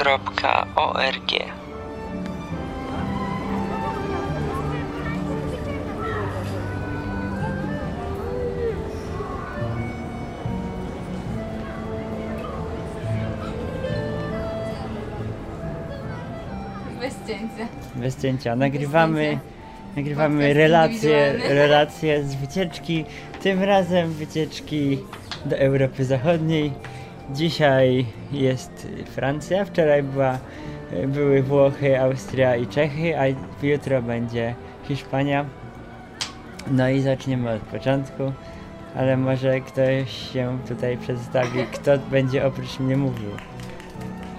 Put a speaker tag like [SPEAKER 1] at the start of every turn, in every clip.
[SPEAKER 1] indywidualni.org
[SPEAKER 2] Bez cięcia.
[SPEAKER 3] Bez cięcia. Nagrywamy, nagrywamy
[SPEAKER 2] Podcast
[SPEAKER 3] relacje,
[SPEAKER 2] indywidualny.
[SPEAKER 3] relacje z wycieczki. Tym razem wycieczki do Europy Zachodniej. Dzisiaj jest Francja, wczoraj była, były Włochy, Austria i Czechy, a jutro będzie Hiszpania. No i zaczniemy od początku, ale może ktoś się tutaj przedstawi, kto będzie oprócz mnie mówił.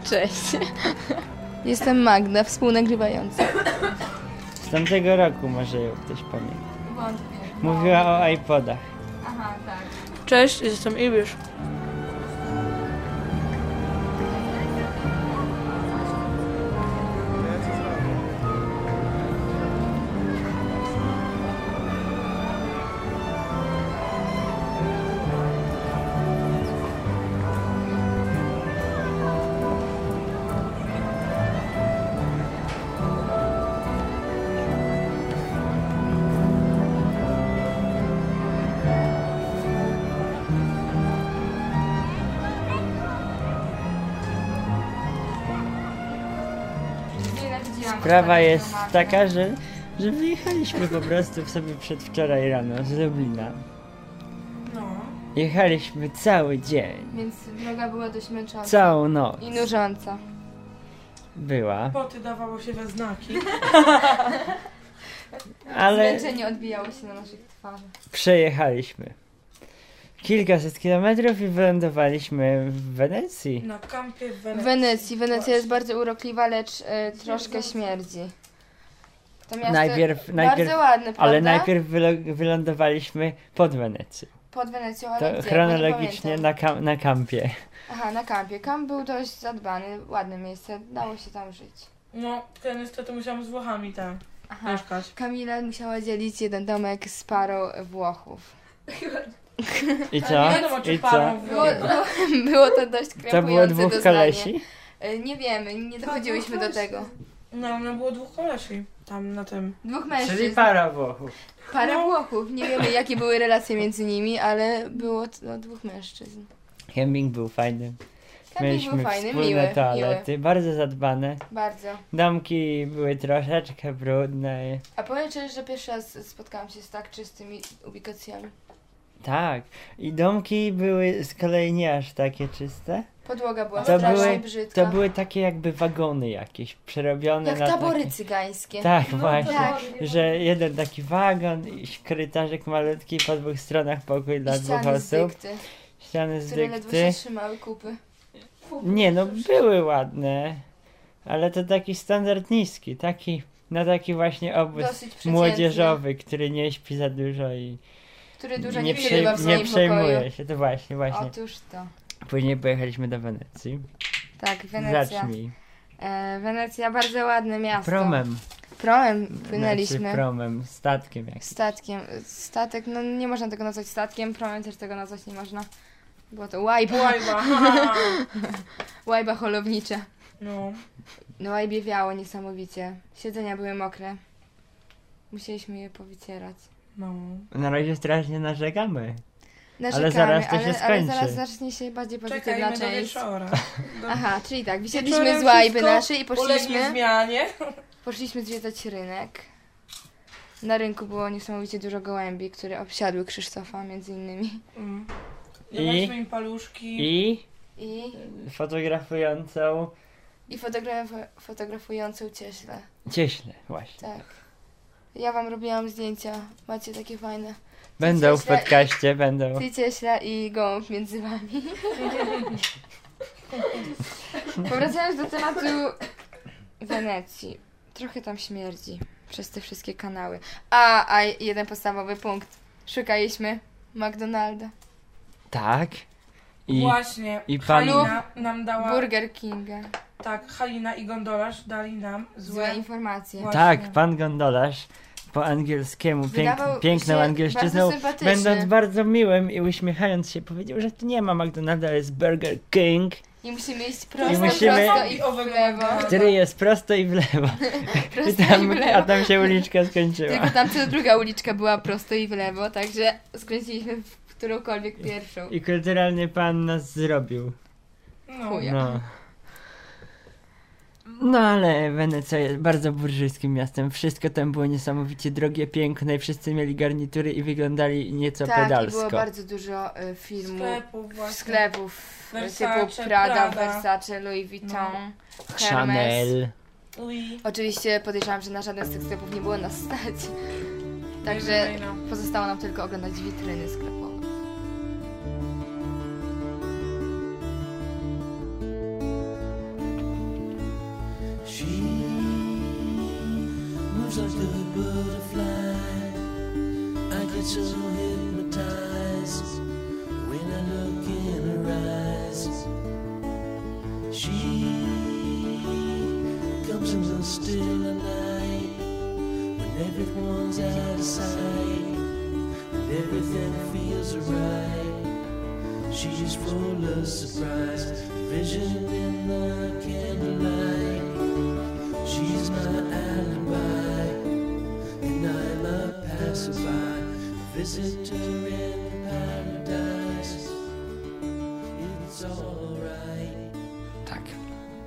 [SPEAKER 2] Cześć. Jestem Magda, współnagrywająca.
[SPEAKER 3] Z tamtego roku może ją ktoś pamięta.
[SPEAKER 2] Wątpię.
[SPEAKER 3] Mówiła o iPodach.
[SPEAKER 2] Aha, tak.
[SPEAKER 4] Cześć, jestem Ibisz.
[SPEAKER 2] Wiele widziałam.
[SPEAKER 3] Sprawa jest
[SPEAKER 2] Magda.
[SPEAKER 3] taka, że, że wyjechaliśmy po prostu w sobie przedwczoraj rano z Lublina.
[SPEAKER 2] No.
[SPEAKER 3] Jechaliśmy cały dzień,
[SPEAKER 2] Więc droga była dość męcząca.
[SPEAKER 3] całą noc.
[SPEAKER 2] I nużąca.
[SPEAKER 3] Była,
[SPEAKER 4] Poty dawało się we znaki.
[SPEAKER 3] ale
[SPEAKER 2] Zmęczenie odbijało się na naszych twarzach.
[SPEAKER 3] przejechaliśmy. Kilkaset kilometrów i wylądowaliśmy w
[SPEAKER 2] No,
[SPEAKER 3] Wenecji.
[SPEAKER 4] Na kampie w
[SPEAKER 2] W
[SPEAKER 4] Wenecji.
[SPEAKER 2] Wenecji. Wenecja jest bardzo urokliwa, lecz e, troszkę śmierdzi. To miasto
[SPEAKER 3] Najpierw,
[SPEAKER 2] bardzo
[SPEAKER 3] najpierw,
[SPEAKER 2] ładne, prawda?
[SPEAKER 3] ale najpierw wylo- wylądowaliśmy pod Wenecją.
[SPEAKER 2] Pod Wenecją, ale
[SPEAKER 3] To
[SPEAKER 2] gdzie? Bo nie
[SPEAKER 3] chronologicznie
[SPEAKER 2] pamiętam.
[SPEAKER 3] na, kam- na kampie.
[SPEAKER 2] Aha, na kampie. Kamp był dość zadbany, ładne miejsce. Dało się tam żyć.
[SPEAKER 4] No, tylko niestety musiałam z Włochami tam
[SPEAKER 2] Aha.
[SPEAKER 4] mieszkać.
[SPEAKER 2] Kamila musiała dzielić jeden domek z parą Włochów.
[SPEAKER 3] I
[SPEAKER 2] No
[SPEAKER 4] Nie
[SPEAKER 3] co?
[SPEAKER 4] wiadomo, czy
[SPEAKER 3] I
[SPEAKER 4] parą
[SPEAKER 3] co?
[SPEAKER 4] w
[SPEAKER 2] Było,
[SPEAKER 4] Włochach.
[SPEAKER 2] było, było to dość
[SPEAKER 3] To było
[SPEAKER 2] krępujące
[SPEAKER 3] dwóch
[SPEAKER 2] doznanie.
[SPEAKER 3] kolesi?
[SPEAKER 2] Y, Nie wiemy, nie dochodziłyśmy do tego.
[SPEAKER 4] No, no było dwóch kolesi tam na tym.
[SPEAKER 2] Dwóch mężczyzn,
[SPEAKER 3] Czyli para Włochów.
[SPEAKER 2] para Włochów. Nie wiemy, jakie były relacje między nimi, ale było to dwóch mężczyzn.
[SPEAKER 3] Camping był fajny.
[SPEAKER 2] Kamil był fajny, miły, miły.
[SPEAKER 3] toalety, bardzo zadbane.
[SPEAKER 2] Bardzo.
[SPEAKER 3] Domki były troszeczkę brudne.
[SPEAKER 2] A powiem szczerze, że pierwszy raz spotkałam się z tak czystymi ubikacjami.
[SPEAKER 3] Tak. I domki były z kolei nie aż takie czyste.
[SPEAKER 2] Podłoga była
[SPEAKER 3] To
[SPEAKER 2] strasznie
[SPEAKER 3] były-
[SPEAKER 2] brzydka.
[SPEAKER 3] To były takie jakby wagony jakieś, przerobione
[SPEAKER 2] Tak. Jak
[SPEAKER 3] na
[SPEAKER 2] tabory
[SPEAKER 3] takie...
[SPEAKER 2] cygańskie.
[SPEAKER 3] Tak, właśnie.
[SPEAKER 2] tak.
[SPEAKER 3] Że jeden taki wagon i korytarzek malutki po dwóch stronach pokój dla
[SPEAKER 2] I
[SPEAKER 3] dwóch
[SPEAKER 2] ściany z
[SPEAKER 3] osób.
[SPEAKER 2] dykty,
[SPEAKER 3] Ściany z
[SPEAKER 2] które ledwo się
[SPEAKER 3] dykty.
[SPEAKER 2] trzymały kupy.
[SPEAKER 3] Nie no, były ładne. Ale to taki standard niski, taki, no taki właśnie obóz
[SPEAKER 2] Dosyć przeciętny.
[SPEAKER 3] młodzieżowy, który nie śpi za dużo i
[SPEAKER 2] Który dużo
[SPEAKER 3] nie,
[SPEAKER 2] nie,
[SPEAKER 3] przej-
[SPEAKER 2] przerywa w
[SPEAKER 3] nie
[SPEAKER 2] swoim
[SPEAKER 3] przejmuje
[SPEAKER 2] pokoju.
[SPEAKER 3] się. To właśnie, właśnie.
[SPEAKER 2] Otóż to.
[SPEAKER 3] Później pojechaliśmy do Wenecji.
[SPEAKER 2] Tak, Wenecja.
[SPEAKER 3] Zacznij.
[SPEAKER 2] E, Wenecja, bardzo ładne miasto.
[SPEAKER 3] Promem.
[SPEAKER 2] Promem płynęliśmy.
[SPEAKER 3] Znaczy promem, statkiem jak.
[SPEAKER 2] Statkiem. Statek, no nie można tego nazwać statkiem, promem też tego nazwać nie można. Było to łajba,
[SPEAKER 4] Łajba.
[SPEAKER 2] łajba holownicza.
[SPEAKER 4] No.
[SPEAKER 2] No łajbie wiało niesamowicie. Siedzenia były mokre. Musieliśmy je powycierać.
[SPEAKER 4] No.
[SPEAKER 3] Na razie strasznie narzekamy.
[SPEAKER 2] Narzekamy,
[SPEAKER 3] zaraz to się
[SPEAKER 2] ale, ale
[SPEAKER 3] skończy.
[SPEAKER 2] zaraz zacznie się bardziej pozytywna
[SPEAKER 4] Czekajmy do
[SPEAKER 2] część.
[SPEAKER 4] wieczora. Do...
[SPEAKER 2] Aha, czyli tak,
[SPEAKER 4] Wieczorem
[SPEAKER 2] wysiedliśmy z łajby
[SPEAKER 4] wszystko
[SPEAKER 2] naszej i
[SPEAKER 4] Ulegnie
[SPEAKER 2] poszliśmy...
[SPEAKER 4] zmianie.
[SPEAKER 2] Poszliśmy zwiedzać rynek. Na rynku było niesamowicie dużo gołębi, które obsiadły Krzysztofa między innymi.
[SPEAKER 4] Mm.
[SPEAKER 3] I-
[SPEAKER 4] Dawaliśmy im paluszki.
[SPEAKER 3] I
[SPEAKER 2] I,
[SPEAKER 3] fotografującą
[SPEAKER 2] i fotograf- fotografującą cieśle.
[SPEAKER 3] cieśle właśnie.
[SPEAKER 2] Tak. Ja wam robiłam zdjęcia. Macie takie fajne.
[SPEAKER 3] Będą w
[SPEAKER 2] cieśle i-
[SPEAKER 3] podcaście, będą.
[SPEAKER 2] Ty cieśla i gołąb między wami. Powracając do tematu Wenecji. Trochę tam śmierdzi przez te wszystkie kanały. A, a jeden podstawowy punkt. Szukaliśmy McDonalda.
[SPEAKER 3] Tak. I
[SPEAKER 4] Właśnie.
[SPEAKER 3] i pan-
[SPEAKER 4] Halina nam dała...
[SPEAKER 2] Burger Kinga.
[SPEAKER 4] Tak, Halina i Gondolarz dali nam
[SPEAKER 2] Złe
[SPEAKER 4] złe...
[SPEAKER 2] informacje.
[SPEAKER 3] tak,
[SPEAKER 4] Właśnie.
[SPEAKER 3] pan gondolarz po angielskiemu, pięk,
[SPEAKER 2] Wydawał
[SPEAKER 3] piękną
[SPEAKER 2] się
[SPEAKER 3] angielszczyzną,
[SPEAKER 2] bardzo sympatyczny.
[SPEAKER 3] będąc bardzo miłym i uśmiechając się, powiedział, że tu nie ma McDonalda, ale jest Burger King.
[SPEAKER 2] I musimy iść
[SPEAKER 4] I
[SPEAKER 2] prosto,
[SPEAKER 3] musimy-
[SPEAKER 2] prosto i w lewo.
[SPEAKER 3] Który jest prosto i w lewo. I
[SPEAKER 2] Prosto i w
[SPEAKER 3] tam, a
[SPEAKER 2] lewo.
[SPEAKER 3] tam się uliczka skończyła.
[SPEAKER 2] Tylko tam co druga uliczka była prosto i w lewo, także skręciliśmy w którąkolwiek pierwszą.
[SPEAKER 3] I kulturalnie pan nas zrobił.
[SPEAKER 4] No.
[SPEAKER 2] Chuja.
[SPEAKER 3] No. No ale Wenecja jest bardzo burżyjskim miastem. Wszystko tam było niesamowicie drogie, piękne i wszyscy mieli garnitury i wyglądali nieco
[SPEAKER 2] tak, i
[SPEAKER 3] pedalsko.
[SPEAKER 2] było bardzo dużo y, filmów,
[SPEAKER 4] Sklepów właśnie.
[SPEAKER 2] sklepów
[SPEAKER 4] Versace,
[SPEAKER 2] typu Prada,
[SPEAKER 4] Prada.
[SPEAKER 2] Versace, Louis Vuitton, Hermes.
[SPEAKER 3] Chanel.
[SPEAKER 4] Ui.
[SPEAKER 2] Oczywiście podejrzewam, że na żaden z tych sklepów nie było nas stać. Także
[SPEAKER 4] Jedynej, no.
[SPEAKER 2] pozostało nam tylko oglądać witryny sklepowe.
[SPEAKER 1] She moves like a butterfly. I get so hypnotized when I look in her eyes. She comes in the still of night when everyone's out of sight and everything feels alright. She's just full of surprise, vision in the candlelight. She's my alibi, and I'm a passerby, visitor in paradise. It's alright.
[SPEAKER 3] Tak.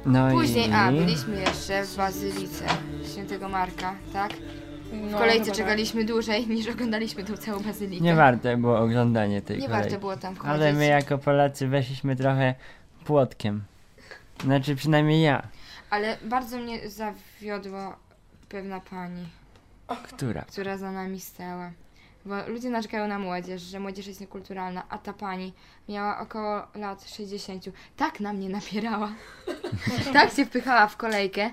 [SPEAKER 3] No
[SPEAKER 2] Później,
[SPEAKER 3] i...
[SPEAKER 2] a, byliśmy jeszcze w Bazylice Świętego Marka, tak? W
[SPEAKER 4] No,
[SPEAKER 2] kolejce
[SPEAKER 4] chyba
[SPEAKER 2] czekaliśmy dłużej niż oglądaliśmy tą całą bazylikę.
[SPEAKER 3] tak. Nie warte było oglądanie tej
[SPEAKER 2] tak. Nie
[SPEAKER 3] kolejki.
[SPEAKER 2] warto było tam chodzić.
[SPEAKER 3] Ale my jako Polacy weszliśmy trochę płotkiem. Znaczy przynajmniej ja.
[SPEAKER 2] Ale bardzo mnie zawiodła pewna pani,
[SPEAKER 3] Która?
[SPEAKER 2] która za nami stała. Bo ludzie narzekają na młodzież, że młodzież jest niekulturalna, a ta pani miała około lat 60. Tak na mnie napierała. tak się wpychała w kolejkę.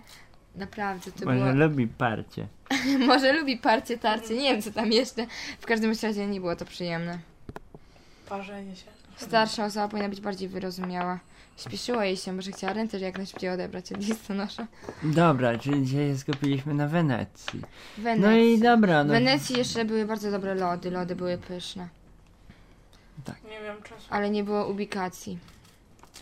[SPEAKER 2] Naprawdę, to
[SPEAKER 3] Może
[SPEAKER 2] było...
[SPEAKER 3] lubi parcie.
[SPEAKER 2] Może lubi parcie, tarcie, nie wiem co tam jeszcze. W każdym razie nie było to przyjemne.
[SPEAKER 4] tak. Parzenie się.
[SPEAKER 2] Starsza osoba powinna być bardziej wyrozumiała. Śpieszyła jej się, może chciała rentę jak najszybciej odebrać od listonosza.
[SPEAKER 3] Dobra, czyli dzisiaj się skupiliśmy na Wenecji.
[SPEAKER 2] Wenecja.
[SPEAKER 3] No i dobra,
[SPEAKER 2] W
[SPEAKER 3] no.
[SPEAKER 2] Wenecji jeszcze były bardzo dobre lody, lody były pyszne,
[SPEAKER 4] Nie wiem czasu.
[SPEAKER 2] ale nie było ubikacji.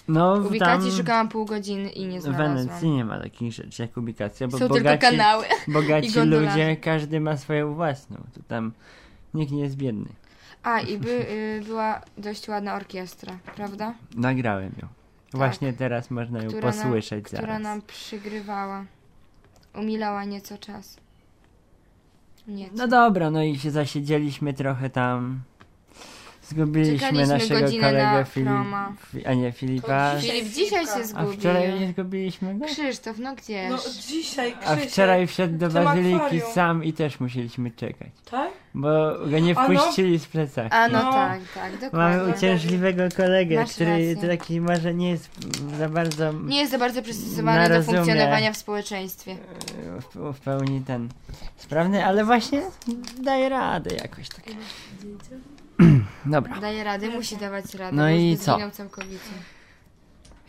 [SPEAKER 3] No w
[SPEAKER 2] Ubikacji
[SPEAKER 3] tam...
[SPEAKER 2] szukałam pół godziny i nie
[SPEAKER 3] W
[SPEAKER 2] znalazłam.
[SPEAKER 3] Wenecji nie ma takich rzeczy jak ubikacja, bo
[SPEAKER 2] Są tylko
[SPEAKER 3] bogaci,
[SPEAKER 2] kanały. i
[SPEAKER 3] bogaci
[SPEAKER 2] gondola.
[SPEAKER 3] ludzie, każdy ma swoją własną. To tam nikt nie jest biedny.
[SPEAKER 2] A i by, y, była dość ładna orkiestra, prawda?
[SPEAKER 3] Nagrałem ją. Właśnie teraz można ją
[SPEAKER 2] Tak. Która nam-
[SPEAKER 3] posłyszeć
[SPEAKER 2] Która
[SPEAKER 3] zaraz.
[SPEAKER 2] nam przygrywała. Umilała nieco czas. Nieco.
[SPEAKER 3] No dobra, no i się zasiedzieliśmy trochę tam. Zgubiliśmy
[SPEAKER 2] Czekaliśmy
[SPEAKER 3] naszego
[SPEAKER 2] godzinę
[SPEAKER 3] kolegę
[SPEAKER 2] na
[SPEAKER 3] Filip,
[SPEAKER 2] Froma.
[SPEAKER 3] Fi- a nie Filipa.
[SPEAKER 4] To dzisiaj-
[SPEAKER 2] Filip dzisiaj się
[SPEAKER 3] A
[SPEAKER 2] zgubił.
[SPEAKER 3] wczoraj nie zgubiliśmy go?
[SPEAKER 2] Krzysztof, no gdzież?
[SPEAKER 4] No dzisiaj Krzysiek.
[SPEAKER 3] A wczoraj wszedł do
[SPEAKER 4] w tym
[SPEAKER 3] Bazyliki
[SPEAKER 4] akwarium.
[SPEAKER 3] sam i też musieliśmy czekać,
[SPEAKER 4] Tak?
[SPEAKER 3] bo go nie
[SPEAKER 4] A no.
[SPEAKER 3] wpuścili z plecaka.
[SPEAKER 2] A no,
[SPEAKER 4] No.
[SPEAKER 2] tak, tak, dokładnie.
[SPEAKER 3] Mamy uciążliwego kolegę,
[SPEAKER 2] Masz
[SPEAKER 3] który
[SPEAKER 2] rację.
[SPEAKER 3] taki może nie jest za bardzo
[SPEAKER 2] Nie jest za bardzo przystosowany do
[SPEAKER 3] Narozumie.
[SPEAKER 2] funkcjonowania w społeczeństwie.
[SPEAKER 3] e, w, w pełni ten sprawny, ale właśnie daje radę jakoś tak. Dobra.
[SPEAKER 2] Daje radę, musi dawać radę.
[SPEAKER 3] No
[SPEAKER 2] bo już
[SPEAKER 3] i
[SPEAKER 2] nie
[SPEAKER 3] co?
[SPEAKER 2] zginął Całkowicie.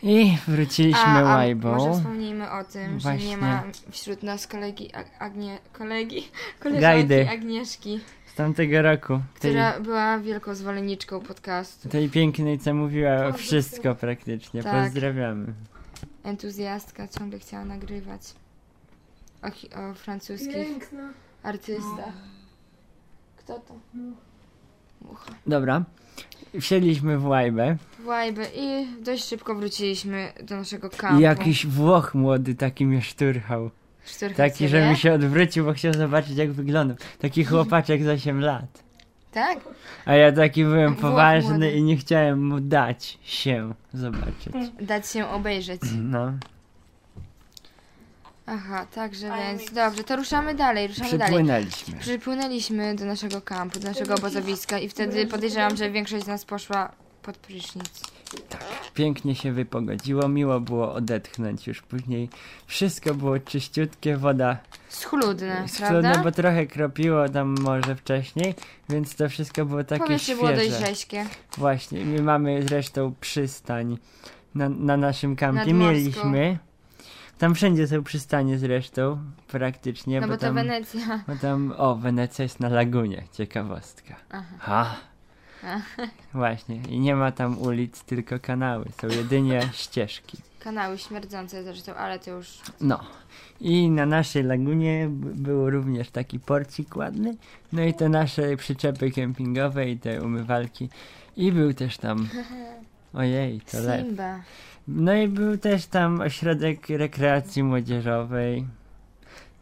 [SPEAKER 3] I wróciliśmy
[SPEAKER 2] a
[SPEAKER 3] łajbą.
[SPEAKER 2] może wspomnijmy o tym, że
[SPEAKER 3] Właśnie.
[SPEAKER 2] nie ma wśród nas kolegi Ag- Agnie... kolegi?
[SPEAKER 3] Gajdy.
[SPEAKER 2] Koleżanki Agnieszki,
[SPEAKER 3] Z tamtego roku. Tej,
[SPEAKER 2] która była wielką zwolenniczką podcastu,
[SPEAKER 3] tej pięknej, co mówiła wszystko praktycznie.
[SPEAKER 2] Tak.
[SPEAKER 3] Pozdrawiamy.
[SPEAKER 2] entuzjastka, ciągle chciała nagrywać o, hi- o francuskich
[SPEAKER 5] Piękna.
[SPEAKER 2] artystach. Kto to? Mucha.
[SPEAKER 3] Dobra. Wsiedliśmy w łajbę.
[SPEAKER 2] Łajby i dość szybko wróciliśmy do naszego
[SPEAKER 3] I
[SPEAKER 2] kampu.
[SPEAKER 3] jakiś Włoch młody taki mnie szturchał.
[SPEAKER 2] Szturcha
[SPEAKER 3] Taki, że
[SPEAKER 2] ciebie?
[SPEAKER 3] mi się odwrócił, bo chciał zobaczyć jak wyglądam. Taki chłopaczek z 8 lat.
[SPEAKER 2] Tak?
[SPEAKER 3] A ja taki byłem
[SPEAKER 2] Włoch
[SPEAKER 3] poważny
[SPEAKER 2] młody.
[SPEAKER 3] i nie chciałem mu dać się zobaczyć.
[SPEAKER 2] Dać się obejrzeć.
[SPEAKER 3] No.
[SPEAKER 2] Aha, także
[SPEAKER 4] Ale
[SPEAKER 2] więc.
[SPEAKER 4] mi-
[SPEAKER 2] Dobrze, to ruszamy dalej, ruszamy dalej.
[SPEAKER 3] Przypłynęliśmy.
[SPEAKER 2] Przypłynęliśmy do naszego kampu, do naszego obozowiska i wtedy podejrzewam, że większość z nas poszła pod prysznic.
[SPEAKER 3] Pięknie się wypogodziło, miło było odetchnąć już później. Wszystko było czyściutkie, woda
[SPEAKER 2] Schludne,
[SPEAKER 3] schludna,
[SPEAKER 2] prawda?
[SPEAKER 3] bo trochę kropiło tam może wcześniej, więc to wszystko było takie
[SPEAKER 2] Powietrze było dość
[SPEAKER 3] świeże.
[SPEAKER 2] rześkie.
[SPEAKER 3] Właśnie, my mamy zresztą przystań na, na naszym kampie.
[SPEAKER 2] Nadmorską.
[SPEAKER 3] Mieliśmy. Tam wszędzie są przystanie zresztą, praktycznie,
[SPEAKER 2] No
[SPEAKER 3] bo,
[SPEAKER 2] bo to
[SPEAKER 3] tam,
[SPEAKER 2] Wenecja.
[SPEAKER 3] bo tam, o, Wenecja jest na lagunie, ciekawostka.
[SPEAKER 2] Aha.
[SPEAKER 3] Ha! Właśnie. I nie ma tam ulic, tylko kanały. Są jedynie ścieżki.
[SPEAKER 2] Kanały śmierdzące zresztą, ale to już...
[SPEAKER 3] No. I na naszej lagunie b- był również taki porcik ładny. No i te nasze przyczepy kempingowe i te umywalki. I był też tam... Ojej, to lew.
[SPEAKER 2] Simba.
[SPEAKER 3] No i był też tam ośrodek rekreacji młodzieżowej.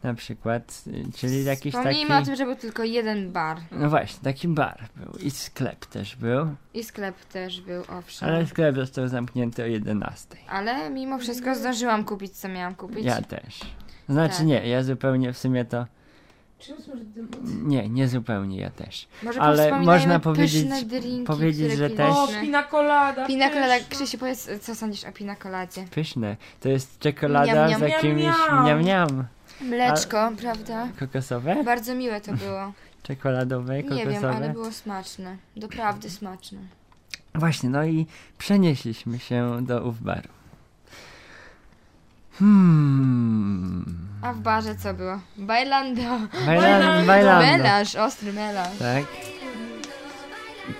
[SPEAKER 3] Na przykład, y, czyli jakiś taki...
[SPEAKER 2] Wspomnijmy o tym, że był tylko jeden bar.
[SPEAKER 3] No właśnie, taki bar był i sklep też był,
[SPEAKER 2] I sklep też był, owszem.
[SPEAKER 3] ale
[SPEAKER 2] Ale,
[SPEAKER 3] sklep został zamknięty o 11.
[SPEAKER 2] mimo wszystko zdążyłam kupić, co miałam kupić.
[SPEAKER 3] Ja też. Znaczy
[SPEAKER 2] Tak.
[SPEAKER 3] nie, ja zupełnie w sumie to...
[SPEAKER 5] Czym służy dym?
[SPEAKER 3] Nie, nie zupełnie, ja też.
[SPEAKER 2] Może
[SPEAKER 3] Ale
[SPEAKER 2] powspominajmy
[SPEAKER 3] można
[SPEAKER 2] pyszne
[SPEAKER 3] powiedzieć-
[SPEAKER 2] drinki,
[SPEAKER 3] powiedzieć,
[SPEAKER 2] które
[SPEAKER 3] że też-
[SPEAKER 4] O,
[SPEAKER 2] piliśmy.
[SPEAKER 4] No, pina colada. no.
[SPEAKER 2] Pina colada.
[SPEAKER 4] pyszna.
[SPEAKER 2] Krzysiu, powiedz, co sądzisz o pina coladzie?
[SPEAKER 3] Pyszne. To jest czekolada
[SPEAKER 2] Miam, miam,
[SPEAKER 3] z
[SPEAKER 4] miam,
[SPEAKER 3] jakimiś...
[SPEAKER 4] miam.
[SPEAKER 3] Miam, miam.
[SPEAKER 2] Mleczko, prawda?
[SPEAKER 3] Kokosowe?
[SPEAKER 2] Bardzo miłe to było.
[SPEAKER 3] Czekoladowe, kokosowe?
[SPEAKER 2] Nie wiem, ale było smaczne. Doprawdy smaczne.
[SPEAKER 3] Właśnie, no i przenieśliśmy się do ów baru. Hmm...
[SPEAKER 2] A w barze co było? Bailando.
[SPEAKER 3] Bajlan, bajlando.
[SPEAKER 2] Melanż, ostry melanż.
[SPEAKER 3] Tak.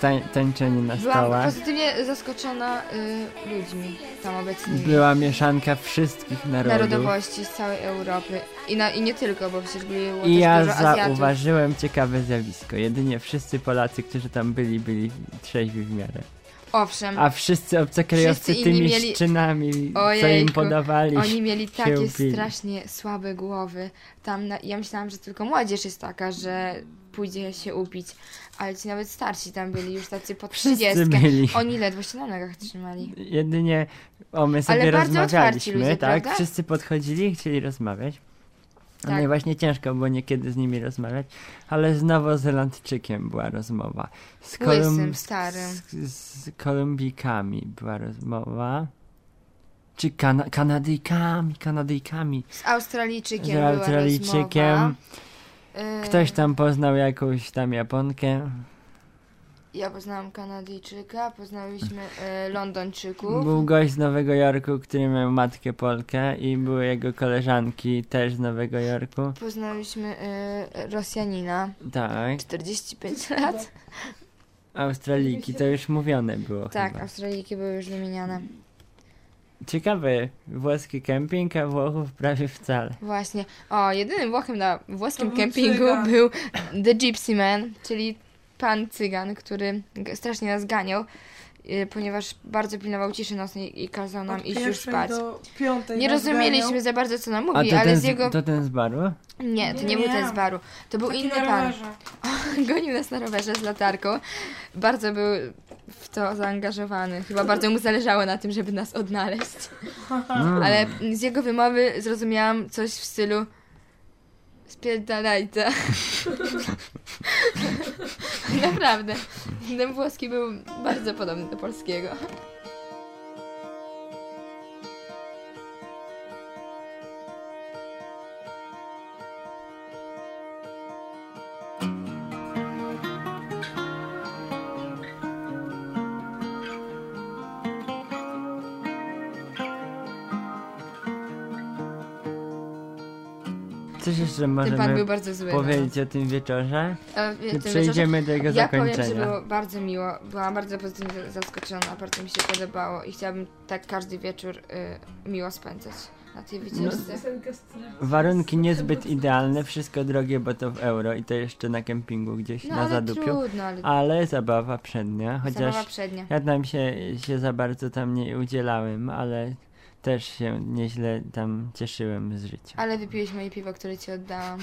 [SPEAKER 3] Tań, tańczenie na
[SPEAKER 2] Byłam
[SPEAKER 3] stołach.
[SPEAKER 2] pozytywnie zaskoczona y, ludźmi tam obecnymi.
[SPEAKER 3] Była mieszanka wszystkich narodów.
[SPEAKER 2] Narodowości z całej Europy. I, na, I nie tylko, bo przecież było
[SPEAKER 3] I
[SPEAKER 2] też
[SPEAKER 3] ja
[SPEAKER 2] dużo Azjatów.
[SPEAKER 3] zauważyłem ciekawe zjawisko. Jedynie wszyscy Polacy, którzy tam byli, byli trzeźwi w miarę.
[SPEAKER 2] Owszem,
[SPEAKER 3] A wszyscy obcokrajowcy
[SPEAKER 2] Mm. Wszyscy inni
[SPEAKER 3] tymi
[SPEAKER 2] mieli-
[SPEAKER 3] szczynami, co im
[SPEAKER 2] Ojejku,
[SPEAKER 3] podawali.
[SPEAKER 2] oni mieli takie
[SPEAKER 3] upili.
[SPEAKER 2] strasznie słabe głowy. Tam na, ja myślałam, że tylko młodzież jest taka, że pójdzie się upić. Ale ci nawet starsi tam byli już tacy po
[SPEAKER 3] Wszyscy
[SPEAKER 2] 30.
[SPEAKER 3] byli.
[SPEAKER 2] Oni ledwo się na nogach trzymali.
[SPEAKER 3] Jedynie o my sobie
[SPEAKER 2] Ale bardzo
[SPEAKER 3] rozmawialiśmy,
[SPEAKER 2] otwarci ludzie,
[SPEAKER 3] tak?
[SPEAKER 2] prawda?
[SPEAKER 3] Wszyscy podchodzili i chcieli rozmawiać. No
[SPEAKER 2] Tak.
[SPEAKER 3] i właśnie ciężko było niekiedy z nimi rozmawiać, ale z Nowozelandczykiem była rozmowa. Z,
[SPEAKER 2] Łysym, starym.
[SPEAKER 3] z, z Kolumbikami była rozmowa. Czy kana Kanadyjkami, Kanadyjkami.
[SPEAKER 2] Z Australijczykiem
[SPEAKER 3] z
[SPEAKER 2] była rozmowa.
[SPEAKER 3] Australijczykiem. Yy,
[SPEAKER 2] Y,
[SPEAKER 3] Ktoś tam poznał jakąś tam Japonkę.
[SPEAKER 2] Ja poznałam Kanadyjczyka, poznałyśmy y, Londończyków.
[SPEAKER 3] Był gość z Nowego Jorku, który miał matkę Polkę i były jego koleżanki też z Nowego Jorku.
[SPEAKER 2] Poznałyśmy y, Rosjanina,
[SPEAKER 3] Tak.
[SPEAKER 2] 45 lat.
[SPEAKER 3] Australijki, to już mówione było.
[SPEAKER 2] Tak,
[SPEAKER 3] Chyba.
[SPEAKER 2] Australijki były już wymieniane.
[SPEAKER 3] Ciekawy, włoski kemping, a Włochów prawie wcale.
[SPEAKER 2] Właśnie. O, jedynym Włochem na włoskim
[SPEAKER 4] To był
[SPEAKER 2] kempingu
[SPEAKER 4] cygan.
[SPEAKER 2] był The Gypsy Man, czyli pan cygan, który g- strasznie nas ganiał, y, ponieważ bardzo pilnował ciszy nocnej i kazał nam
[SPEAKER 4] Od
[SPEAKER 2] iść już
[SPEAKER 4] pierwszej
[SPEAKER 2] spać.
[SPEAKER 4] do piątej
[SPEAKER 2] Nie
[SPEAKER 4] nas
[SPEAKER 2] rozumieliśmy
[SPEAKER 4] ganiał.
[SPEAKER 2] za bardzo, co nam
[SPEAKER 3] A
[SPEAKER 2] mówi,
[SPEAKER 3] to
[SPEAKER 2] ale
[SPEAKER 3] ten,
[SPEAKER 2] z jego...
[SPEAKER 3] z, to ten z baru?
[SPEAKER 2] Nie, to nie,
[SPEAKER 4] Nie.
[SPEAKER 2] był ten z baru. To był
[SPEAKER 4] Taki
[SPEAKER 2] inny
[SPEAKER 4] na
[SPEAKER 2] pan.
[SPEAKER 4] rowerze.
[SPEAKER 2] Gonił nas na rowerze z latarką. Bardzo był w to zaangażowany. Chyba bardzo mu zależało na tym, żeby nas odnaleźć.
[SPEAKER 3] Mm.
[SPEAKER 2] Ale z jego wymowy zrozumiałam coś w stylu spierdalajta. Naprawdę. Ten włoski był bardzo podobny do polskiego.
[SPEAKER 3] Coś jeszcze
[SPEAKER 2] Ten pan był
[SPEAKER 3] możemy
[SPEAKER 2] bardzo zły. no.
[SPEAKER 3] powiedzieć o tym wieczorze?
[SPEAKER 2] A, wie-
[SPEAKER 3] Czy
[SPEAKER 2] ten wieczorze-
[SPEAKER 3] przejdziemy do jego
[SPEAKER 2] Ja powiem, że
[SPEAKER 3] zakończenia?
[SPEAKER 2] było bardzo miło. Byłam bardzo pozytywnie zaskoczona. Bardzo mi się podobało i chciałabym tak każdy wieczór y, miło spędzać na
[SPEAKER 3] No,
[SPEAKER 2] tej wycieczce.
[SPEAKER 5] Piosenka straszna.
[SPEAKER 3] Warunki niezbyt idealne, wszystko drogie, bo to w euro i to jeszcze na kempingu gdzieś
[SPEAKER 2] No
[SPEAKER 3] na
[SPEAKER 2] ale
[SPEAKER 3] zadupiu.
[SPEAKER 2] trudno, ale
[SPEAKER 3] Ale zabawa przednia, chociaż
[SPEAKER 2] zabawa przednia.
[SPEAKER 3] ja tam się, się za bardzo tam nie udzielałem, ale też się nieźle tam cieszyłem z życia.
[SPEAKER 2] Ale wypiłeś moje piwo, które ci oddałam,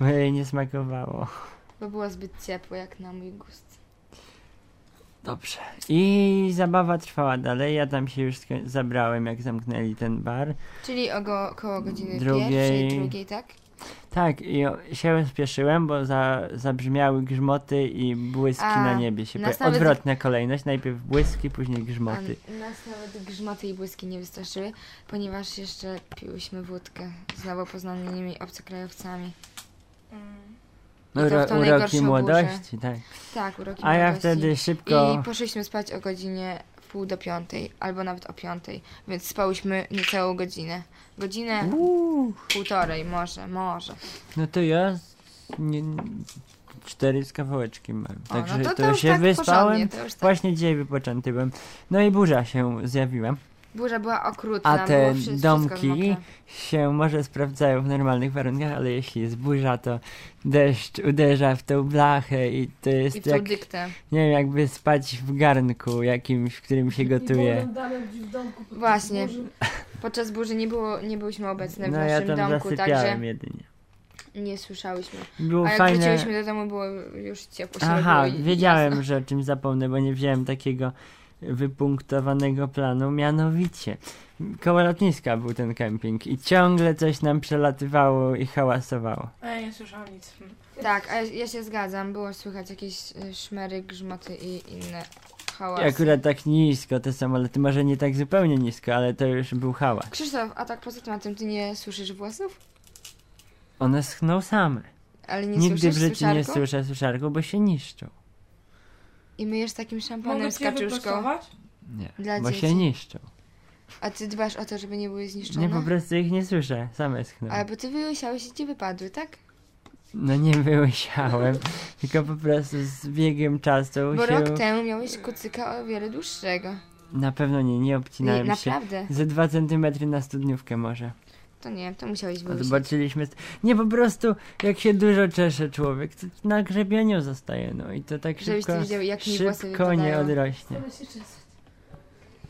[SPEAKER 3] Bo jej nie smakowało.
[SPEAKER 2] bo było zbyt ciepłe jak na mój gust.
[SPEAKER 3] Dobrze. I zabawa trwała dalej. Ja tam się już sko- zabrałem, jak zamknęli ten bar.
[SPEAKER 2] Czyli ogo- około godziny
[SPEAKER 3] Drugiej.
[SPEAKER 2] pierwszej, drugiej, tak?
[SPEAKER 3] Tak, i o- się spieszyłem, bo za, zabrzmiały grzmoty i błyski
[SPEAKER 2] A,
[SPEAKER 3] na niebie się
[SPEAKER 2] nas
[SPEAKER 3] pojawiły.
[SPEAKER 2] nawet-
[SPEAKER 3] Odwrotna kolejność. Najpierw błyski, później
[SPEAKER 2] A
[SPEAKER 3] grzmoty.
[SPEAKER 2] nas nawet grzmoty i błyski nie wystarczyły, ponieważ jeszcze piłyśmy wódkę z nowo poznanymi obcokrajowcami.
[SPEAKER 4] Mm.
[SPEAKER 2] i to w tą najgorszą
[SPEAKER 3] uroki
[SPEAKER 2] burzę.
[SPEAKER 3] młodości, tak.
[SPEAKER 2] Tak, uroki
[SPEAKER 3] A ja
[SPEAKER 2] młodości.
[SPEAKER 3] wtedy szybko...
[SPEAKER 2] I poszliśmy spać o godzinie w pół do piątej, albo nawet o piątej, więc spałyśmy niecałą godzinę. Godzinę,
[SPEAKER 3] Uuu,
[SPEAKER 2] półtorej może, może.
[SPEAKER 3] no to ja... z- Nie, Cztery z kawałeczkiem mam.
[SPEAKER 2] O,
[SPEAKER 3] Także
[SPEAKER 2] no
[SPEAKER 3] to,
[SPEAKER 2] to już
[SPEAKER 3] się
[SPEAKER 2] tak
[SPEAKER 3] wyspałem.
[SPEAKER 2] porządnie, to już tak.
[SPEAKER 3] Właśnie dzisiaj wypoczęty byłem. No i burza się zjawiła.
[SPEAKER 2] Burza była okrutna,
[SPEAKER 3] A te
[SPEAKER 2] było wszy- wszystko
[SPEAKER 3] domki
[SPEAKER 2] mokre.
[SPEAKER 3] się może sprawdzają w normalnych warunkach, ale jeśli jest burza, to deszcz uderza w tą blachę i to jest
[SPEAKER 2] I w tą
[SPEAKER 3] jak,
[SPEAKER 2] dyktę.
[SPEAKER 3] nie wiem, jakby spać w garnku jakimś, w którym się gotuje.
[SPEAKER 4] Mm.
[SPEAKER 2] Właśnie. Podczas burzy nie, było, nie byliśmy obecne w
[SPEAKER 3] No ja
[SPEAKER 2] naszym
[SPEAKER 3] tam
[SPEAKER 2] domku, także
[SPEAKER 3] zasypiałem jedynie.
[SPEAKER 2] nie słyszałyśmy.
[SPEAKER 3] Było
[SPEAKER 2] A jak
[SPEAKER 3] fajne.
[SPEAKER 2] wróciłyśmy do domu, było już ciepło. się
[SPEAKER 3] Aha,
[SPEAKER 2] robiło i- i
[SPEAKER 3] wiedziałem,
[SPEAKER 2] jasno.
[SPEAKER 3] że o czym zapomnę, bo nie wziąłem takiego wypunktowanego planu. Mianowicie, koło lotniska był ten kemping i ciągle coś nam przelatywało i hałasowało.
[SPEAKER 4] Ej, nie słyszałam nic.
[SPEAKER 2] Tak, a ja- ja się zgadzam. Było słychać jakieś y, szmery, grzmoty i inne hałasy.
[SPEAKER 3] I akurat tak nisko te samoloty, może nie tak zupełnie nisko, ale to już był hałas.
[SPEAKER 2] Krzysztof, a tak poza tematem, ty nie słyszysz włosów?
[SPEAKER 3] One schną same.
[SPEAKER 2] Ale nie
[SPEAKER 3] Nigdy
[SPEAKER 2] słyszysz
[SPEAKER 3] w życiu nie
[SPEAKER 2] suszarką?
[SPEAKER 3] słyszę suszarką, bo się niszczą.
[SPEAKER 2] I myjesz takim szampanem
[SPEAKER 4] Mogę
[SPEAKER 2] z
[SPEAKER 4] cię
[SPEAKER 2] kaczuszką.
[SPEAKER 4] wyprostować?
[SPEAKER 3] Nie,
[SPEAKER 2] Dla
[SPEAKER 3] bo się
[SPEAKER 2] dzieci.
[SPEAKER 3] niszczą.
[SPEAKER 2] A ty dbasz o to, żeby nie były zniszczone?
[SPEAKER 3] Nie, po prostu ich nie słyszę, same schną.
[SPEAKER 2] Ale bo ty wyłysiałeś i ci wypadły, tak?
[SPEAKER 3] No nie wyłysiałem, tylko po prostu z biegiem czasu
[SPEAKER 2] Bo
[SPEAKER 3] się...
[SPEAKER 2] rok temu miałeś kucyka o wiele dłuższego.
[SPEAKER 3] Na pewno nie, nie
[SPEAKER 2] Nie,
[SPEAKER 3] obcinałem się.
[SPEAKER 2] naprawdę.
[SPEAKER 3] Ze 2 centymetry na studniówkę może.
[SPEAKER 2] To nie, to musiałeś
[SPEAKER 3] A
[SPEAKER 2] wyłysić.
[SPEAKER 3] Zobaczyliśmy. st- Nie, po prostu jak się dużo czesze człowiek, to na grzebieniu zostaje, no i to tak
[SPEAKER 2] Żebyś
[SPEAKER 3] szybko,
[SPEAKER 2] ty widział, jak mi włosy
[SPEAKER 3] szybko nie
[SPEAKER 2] wypadają.
[SPEAKER 3] odrośnie.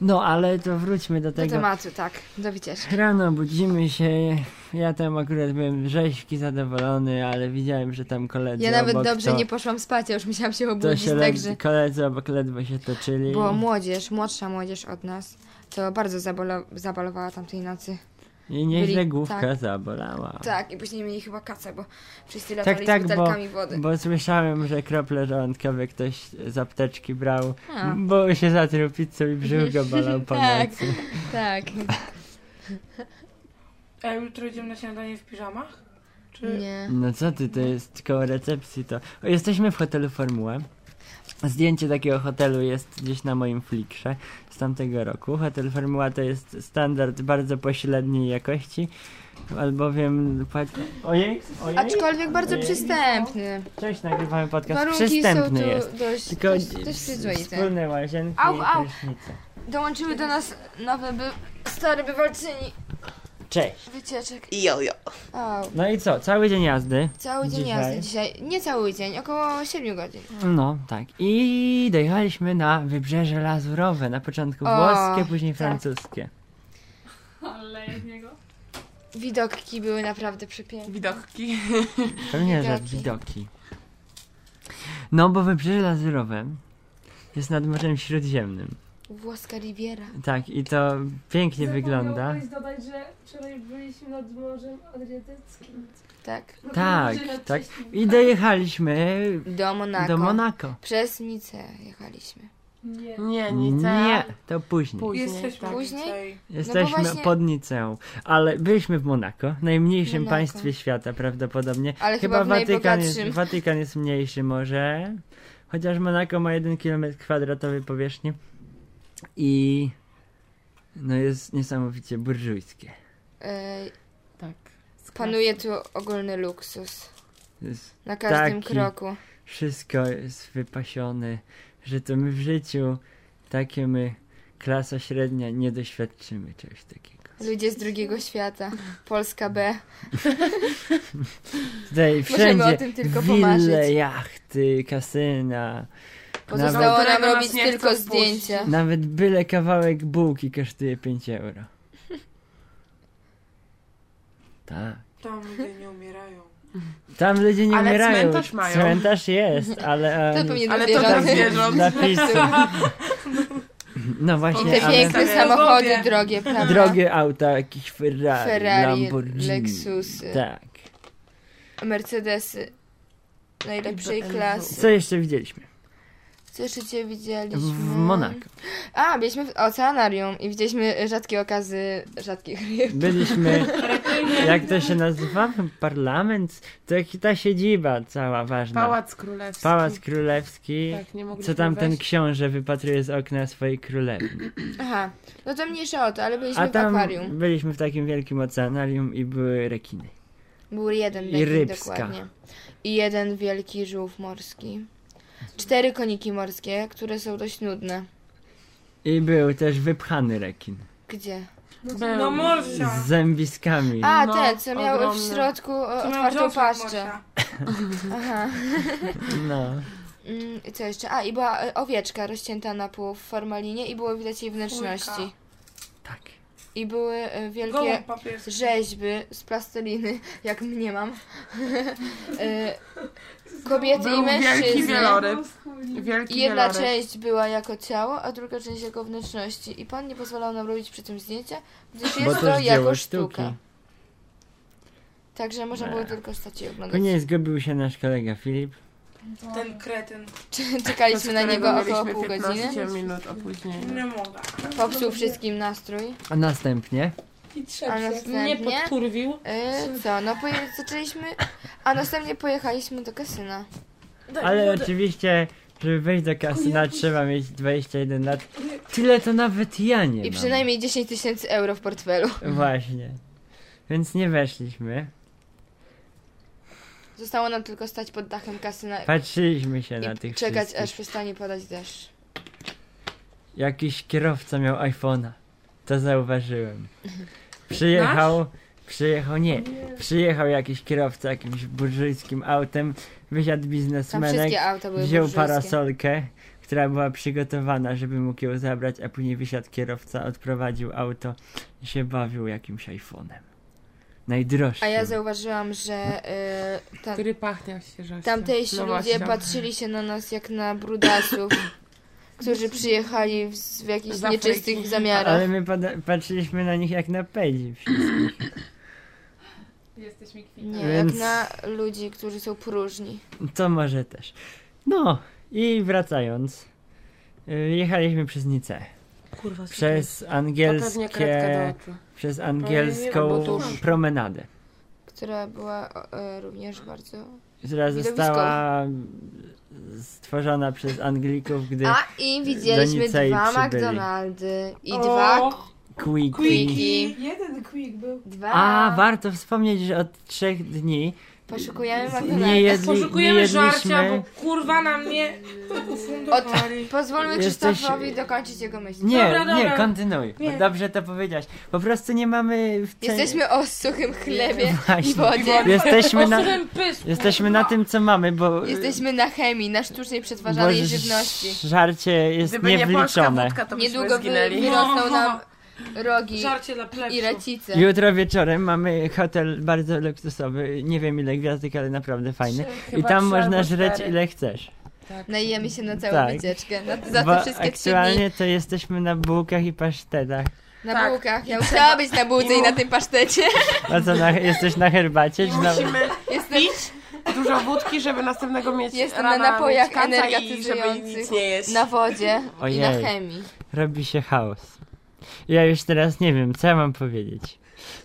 [SPEAKER 3] No, ale to wróćmy do
[SPEAKER 2] Do
[SPEAKER 3] tego.
[SPEAKER 2] tematu, tak. Do wycieczki.
[SPEAKER 3] Rano budzimy się, ja tam akurat byłem rzeźki zadowolony, ale widziałem, że tam koledzy
[SPEAKER 2] Ja nawet
[SPEAKER 3] obok
[SPEAKER 2] dobrze
[SPEAKER 3] to,
[SPEAKER 2] nie poszłam spać, ja już musiałam się
[SPEAKER 3] to
[SPEAKER 2] obudzić,
[SPEAKER 3] się
[SPEAKER 2] także...
[SPEAKER 3] led... koledzy obok ledwo się toczyli.
[SPEAKER 2] Bo młodzież, młodsza młodzież od nas, to bardzo zabolo- zabalowała tamtej nocy.
[SPEAKER 3] I nieźle
[SPEAKER 2] byli-
[SPEAKER 3] główka
[SPEAKER 2] tak.
[SPEAKER 3] zabolała.
[SPEAKER 2] Tak, i później mieli chyba kaca, bo wszyscy
[SPEAKER 3] Tak,
[SPEAKER 2] latali
[SPEAKER 3] tak,
[SPEAKER 2] z butelkami wody.
[SPEAKER 3] Bo słyszałem, że krople żołądkowe ktoś z apteczki brał,
[SPEAKER 2] A.
[SPEAKER 3] bo się zatruł pizzą i brzuch go bolał po
[SPEAKER 2] Tak.
[SPEAKER 3] nocy.
[SPEAKER 2] Tak,
[SPEAKER 4] Ej, E, jutro idziemy na śniadanie w piżamach? Czy...
[SPEAKER 2] nie.
[SPEAKER 3] No co ty, to jest koło recepcji to... O, jesteśmy w hotelu Formuła. Zdjęcie takiego hotelu jest gdzieś na moim flikrze z tamtego roku. Hotel Formuła to jest standard bardzo pośredniej jakości, albowiem... płac- Ojej, ojej.
[SPEAKER 2] Aczkolwiek bardzo
[SPEAKER 3] Ojej.
[SPEAKER 2] przystępny.
[SPEAKER 3] Cześć, nagrywamy podcast.
[SPEAKER 2] Warunki są
[SPEAKER 3] Przystępny
[SPEAKER 2] tu
[SPEAKER 3] jest.
[SPEAKER 2] dość,
[SPEAKER 3] Tylko
[SPEAKER 2] dość, dość przyzwoite.
[SPEAKER 3] wspólne łazienki
[SPEAKER 2] Au,
[SPEAKER 3] i
[SPEAKER 2] au.
[SPEAKER 3] prysznice.
[SPEAKER 2] Dołączyły do nas nowe, by... stare bywalczyni
[SPEAKER 3] Cześć.
[SPEAKER 2] wycieczek.
[SPEAKER 6] Jo, jo.
[SPEAKER 2] Au.
[SPEAKER 3] No i co? Cały dzień jazdy.
[SPEAKER 2] Cały dzień
[SPEAKER 3] Dzisiaj?
[SPEAKER 2] jazdy dzisiaj. Nie cały dzień, około 7 godzin.
[SPEAKER 3] No, tak. I dojechaliśmy na wybrzeże lazurowe. Na początku
[SPEAKER 2] O,
[SPEAKER 3] włoskie, później
[SPEAKER 2] tak.
[SPEAKER 3] francuskie.
[SPEAKER 5] Ale z niego.
[SPEAKER 2] Widoki były naprawdę przepiękne.
[SPEAKER 4] Widoki.
[SPEAKER 3] Pewnie, że
[SPEAKER 2] Widoki.
[SPEAKER 3] widoki. No, bo wybrzeże lazurowe jest nad Morzem Śródziemnym.
[SPEAKER 2] Włoska Riviera.
[SPEAKER 3] Tak, i to pięknie wygląda.
[SPEAKER 5] Zapomniałbyś dodać, że wczoraj byliśmy nad Morzem Adriatyckim. No
[SPEAKER 2] Tak.
[SPEAKER 3] Tak,
[SPEAKER 5] Że nad
[SPEAKER 3] tak.
[SPEAKER 5] Cześćmi.
[SPEAKER 3] I dojechaliśmy
[SPEAKER 2] Do Monako.
[SPEAKER 3] do Monako.
[SPEAKER 2] Przez Nicę jechaliśmy.
[SPEAKER 5] Nie.
[SPEAKER 6] Nie, nic.
[SPEAKER 3] Nie, to później.
[SPEAKER 4] Jesteśmy
[SPEAKER 2] tak. Później?
[SPEAKER 4] dzisiaj.
[SPEAKER 3] Jesteśmy
[SPEAKER 2] właśnie-
[SPEAKER 3] pod Niceą, ale byliśmy w Monako, najmniejszym
[SPEAKER 2] Monako.
[SPEAKER 3] państwie świata prawdopodobnie.
[SPEAKER 2] Ale chyba w
[SPEAKER 3] Watykan, jest,
[SPEAKER 2] najbogatszym.
[SPEAKER 3] Watykan jest mniejszy może, chociaż Monako ma 1 km kwadratowy powierzchni i no jest niesamowicie burżujskie.
[SPEAKER 2] E,
[SPEAKER 6] Tak.
[SPEAKER 2] panuje tu ogólny luksus.
[SPEAKER 3] Jest,
[SPEAKER 2] Na każdym
[SPEAKER 3] Taki.
[SPEAKER 2] kroku.
[SPEAKER 3] wszystko jest wypasione, że to my w życiu, takie my, klasa średnia, nie doświadczymy czegoś takiego.
[SPEAKER 2] Ludzie z drugiego świata. Polska B.
[SPEAKER 3] Tutaj
[SPEAKER 2] Możemy
[SPEAKER 3] wszędzie
[SPEAKER 2] o tym tylko pomarzyć.
[SPEAKER 3] wille, jachty, kasyna.
[SPEAKER 2] Pozostało
[SPEAKER 4] Nawet-
[SPEAKER 2] nam
[SPEAKER 4] Którego
[SPEAKER 2] robić
[SPEAKER 4] nas nie chcą
[SPEAKER 2] tylko
[SPEAKER 4] wpuścić.
[SPEAKER 2] zdjęcia.
[SPEAKER 3] Nawet byle kawałek bułki kosztuje 5 euro. Tak.
[SPEAKER 4] Tam ludzie nie umierają.
[SPEAKER 3] Tam ludzie nie
[SPEAKER 6] Ale
[SPEAKER 3] umierają.
[SPEAKER 6] cmentarz mają.
[SPEAKER 3] Cmentarz jest, ale.
[SPEAKER 2] To
[SPEAKER 3] em,
[SPEAKER 2] pewnie do
[SPEAKER 4] Ale to tak dla
[SPEAKER 3] tam
[SPEAKER 2] zwierząt.
[SPEAKER 4] zwierząt.
[SPEAKER 3] Napisy. No
[SPEAKER 2] I
[SPEAKER 3] właśnie,
[SPEAKER 2] te
[SPEAKER 3] ale
[SPEAKER 2] piękne
[SPEAKER 4] Zostawiają
[SPEAKER 2] samochody
[SPEAKER 4] zdrowie.
[SPEAKER 2] drogie, prawda?
[SPEAKER 3] drogie auta, jakieś Ferrari,
[SPEAKER 2] Ferrari,
[SPEAKER 3] Lamborghini.
[SPEAKER 2] Lexusy.
[SPEAKER 3] Tak.
[SPEAKER 2] Mercedesy. Najlepszej
[SPEAKER 6] I BMW.
[SPEAKER 2] klasy.
[SPEAKER 3] Co jeszcze widzieliśmy?
[SPEAKER 2] Co jeszcze cię widzieliśmy?
[SPEAKER 3] W Monako.
[SPEAKER 2] A, byliśmy w oceanarium i widzieliśmy rzadkie okazy rzadkich ryb.
[SPEAKER 3] Byliśmy, jak to się nazywa? Parlament? To jak ta siedziba cała ważna.
[SPEAKER 6] Pałac królewski.
[SPEAKER 3] Pałac Królewski.
[SPEAKER 6] Tak, nie mogliśmy
[SPEAKER 3] Co tam ten
[SPEAKER 6] wejść.
[SPEAKER 3] książę wypatruje z okna swojej królewni.
[SPEAKER 2] Aha, no to mniejsza o to, ale byliśmy
[SPEAKER 3] A
[SPEAKER 2] w
[SPEAKER 3] tam
[SPEAKER 2] akwarium.
[SPEAKER 3] byliśmy w takim wielkim oceanarium i były rekiny.
[SPEAKER 2] Był jeden
[SPEAKER 3] I
[SPEAKER 2] deking
[SPEAKER 3] rybska.
[SPEAKER 2] dokładnie. I jeden wielki żółw morski. Cztery koniki morskie, które są dość nudne.
[SPEAKER 3] I był też wypchany rekin.
[SPEAKER 2] Gdzie?
[SPEAKER 4] No morsia!
[SPEAKER 3] Z zębiskami.
[SPEAKER 2] Tak. A,
[SPEAKER 6] No,
[SPEAKER 2] te, co miały
[SPEAKER 6] ogromne.
[SPEAKER 2] w środku o,
[SPEAKER 4] Co miał
[SPEAKER 2] otwartą
[SPEAKER 4] dziąsek
[SPEAKER 2] paszczę.
[SPEAKER 4] morsia.
[SPEAKER 2] Aha.
[SPEAKER 3] No.
[SPEAKER 2] Mm, I co jeszcze? A, i była e, owieczka rozcięta na pół w formalinie i było widać jej wnętrzności.
[SPEAKER 4] Fujka.
[SPEAKER 3] Tak.
[SPEAKER 2] I były e, wielkie
[SPEAKER 4] Gołąb papieski.
[SPEAKER 2] rzeźby z plasteliny, jak mnie mam. E, Kobiety i
[SPEAKER 6] Był wielki
[SPEAKER 2] mężczyzny.
[SPEAKER 6] wieloryb.
[SPEAKER 5] Skuli.
[SPEAKER 6] Wielki
[SPEAKER 2] I jedna
[SPEAKER 6] wieloryb.
[SPEAKER 2] część była jako ciało, a druga część jako wnętrzności. I pan nie pozwalał nam robić przy tym zdjęcia, gdyż
[SPEAKER 3] Bo
[SPEAKER 2] jest
[SPEAKER 3] to
[SPEAKER 2] to
[SPEAKER 3] jest dzieło
[SPEAKER 2] jako
[SPEAKER 3] sztuki.
[SPEAKER 2] sztuka. Także można było
[SPEAKER 3] Nie.
[SPEAKER 2] tylko stać i oglądać.
[SPEAKER 3] No Nie zgubił się nasz kolega Filip.
[SPEAKER 4] Ten kretyn.
[SPEAKER 2] Czy- Czekaliśmy na
[SPEAKER 6] Z
[SPEAKER 2] niego
[SPEAKER 6] którego
[SPEAKER 2] około
[SPEAKER 6] mieliśmy
[SPEAKER 2] pół godziny.
[SPEAKER 6] 15 minut opóźnienia.
[SPEAKER 4] Nie mogę.
[SPEAKER 2] Popsuł wszystkim nastrój.
[SPEAKER 3] A następnie
[SPEAKER 5] I
[SPEAKER 2] A
[SPEAKER 5] trzeba się.
[SPEAKER 2] następnie...
[SPEAKER 4] podkurwił.
[SPEAKER 2] Y, co, no poje- zaczęliśmy, a następnie pojechaliśmy do kasyna. No,
[SPEAKER 3] Ale oczywiście, żeby wejść do kasyna trzeba mieć 21 lat. Tyle to nawet ja nie
[SPEAKER 2] I
[SPEAKER 3] mam.
[SPEAKER 2] przynajmniej 10 tysięcy euro w portfelu.
[SPEAKER 3] Właśnie. Więc nie weszliśmy.
[SPEAKER 2] Zostało nam tylko stać pod dachem kasyna
[SPEAKER 3] Patrzyliśmy się na
[SPEAKER 2] i
[SPEAKER 3] tych
[SPEAKER 2] czekać,
[SPEAKER 3] wszystkich.
[SPEAKER 2] aż przestanie padać deszcz.
[SPEAKER 3] Jakiś kierowca miał iPhone'a. To zauważyłem. Przyjechał... Przyjechał... Nie. Przyjechał jakiś kierowca jakimś burżujskim autem. Wysiadł
[SPEAKER 2] Tam
[SPEAKER 3] biznesmenek.
[SPEAKER 2] wszystkie auta były
[SPEAKER 3] Wziął
[SPEAKER 2] burżujskie.
[SPEAKER 3] parasolkę, która była przygotowana, żeby mógł ją zabrać, a później wysiadł kierowca, odprowadził auto i się bawił jakimś iPhone'em. Najdroższym.
[SPEAKER 2] A ja zauważyłam, że y, ta,
[SPEAKER 6] Który pachnie świeżością.
[SPEAKER 2] tamtejsi
[SPEAKER 6] No
[SPEAKER 2] ludzie
[SPEAKER 6] właśnie.
[SPEAKER 2] patrzyli się na nas jak na brudasów, którzy przyjechali w, z- w jakichś
[SPEAKER 6] Z Afryki.
[SPEAKER 2] nieczystych zamiarach.
[SPEAKER 3] Ale my pada- patrzyliśmy na nich jak na pedzi. wszystkich.
[SPEAKER 6] Jesteśmy kwitni.
[SPEAKER 2] Nie,
[SPEAKER 3] Więc-
[SPEAKER 2] jak na ludzi, którzy są próżni.
[SPEAKER 3] To może też. No i wracając. y, Jechaliśmy przez Nicę.
[SPEAKER 6] Kurwa,
[SPEAKER 3] Przez
[SPEAKER 6] Angielskie... kredka do
[SPEAKER 3] angielskie,
[SPEAKER 6] oczu.
[SPEAKER 3] przez
[SPEAKER 6] Albo
[SPEAKER 3] angielską
[SPEAKER 6] tuż.
[SPEAKER 3] promenadę.
[SPEAKER 2] Która była o, e, również bardzo
[SPEAKER 3] Która została stworzona przez Anglików, gdy
[SPEAKER 2] A i widzieliśmy
[SPEAKER 3] Nicei
[SPEAKER 2] dwa
[SPEAKER 3] przybyli.
[SPEAKER 2] McDonaldy i
[SPEAKER 4] O,
[SPEAKER 2] dwa
[SPEAKER 3] Quickie
[SPEAKER 2] Quickie.
[SPEAKER 5] Jeden quick był.
[SPEAKER 2] Dwa.
[SPEAKER 3] A, warto wspomnieć, że od trzech dni
[SPEAKER 2] Poszukujemy
[SPEAKER 3] nie,
[SPEAKER 2] McDonalda.
[SPEAKER 3] jedli, nie
[SPEAKER 4] Poszukujemy żarcia,
[SPEAKER 3] jedliśmy.
[SPEAKER 4] bo kurwa na mnie ufundowali.
[SPEAKER 2] Pozwólmy
[SPEAKER 3] Jesteś-
[SPEAKER 2] Krzysztofowi dokończyć jego myśl.
[SPEAKER 3] Nie,
[SPEAKER 4] Dobra,
[SPEAKER 3] nie,
[SPEAKER 4] dobra.
[SPEAKER 3] kontynuuj.
[SPEAKER 4] Nie.
[SPEAKER 3] Dobrze to powiedziałaś. Po prostu nie mamy... W cenie-
[SPEAKER 2] Jesteśmy o suchym chlebie i
[SPEAKER 3] Właśnie.
[SPEAKER 2] wodzie.
[SPEAKER 3] Jesteśmy na,
[SPEAKER 4] Ten pysk.
[SPEAKER 3] jesteśmy na tym, co mamy, bo...
[SPEAKER 2] Jesteśmy na chemii, na sztucznie
[SPEAKER 3] bo
[SPEAKER 2] przetwarzanej
[SPEAKER 3] ż-
[SPEAKER 2] żywności.
[SPEAKER 3] Żarcie jest
[SPEAKER 6] Gdyby nie polska
[SPEAKER 3] niewliczone.
[SPEAKER 6] wódka, to byśmy
[SPEAKER 2] Niedługo wy,
[SPEAKER 6] zginęli.
[SPEAKER 2] wyrosną nam rogi
[SPEAKER 4] Żarcie dla plepsu.
[SPEAKER 2] i racice.
[SPEAKER 3] Jutro wieczorem mamy hotel bardzo luksusowy, nie wiem ile gwiazdek, ale naprawdę fajny. I
[SPEAKER 6] Chyba
[SPEAKER 3] tam
[SPEAKER 6] trzy
[SPEAKER 3] można
[SPEAKER 6] albo
[SPEAKER 3] żreć
[SPEAKER 6] cztery.
[SPEAKER 3] ile chcesz.
[SPEAKER 2] Najemy się na całą
[SPEAKER 3] Tak.
[SPEAKER 2] wycieczkę. Na, za
[SPEAKER 3] Bo
[SPEAKER 2] te wszystkie trzy dni.
[SPEAKER 3] aktualnie to jesteśmy na bułkach i pasztetach.
[SPEAKER 2] Na
[SPEAKER 6] Tak.
[SPEAKER 2] bułkach. Ja musiała być na bułce i na tym pasztecie.
[SPEAKER 3] A co, na, jesteś na herbacie czy na...
[SPEAKER 6] Musimy
[SPEAKER 2] Jestem
[SPEAKER 6] dużo wódki, żeby następnego mieć
[SPEAKER 2] Jestem
[SPEAKER 6] rana,
[SPEAKER 2] na napojach
[SPEAKER 6] mieć kaca i żeby
[SPEAKER 2] energetyzujących.
[SPEAKER 6] nic nie jeść.
[SPEAKER 2] na wodzie i na
[SPEAKER 3] Ojej.
[SPEAKER 2] chemii.
[SPEAKER 3] robi się chaos. Ja już teraz nie wiem, co ja mam powiedzieć.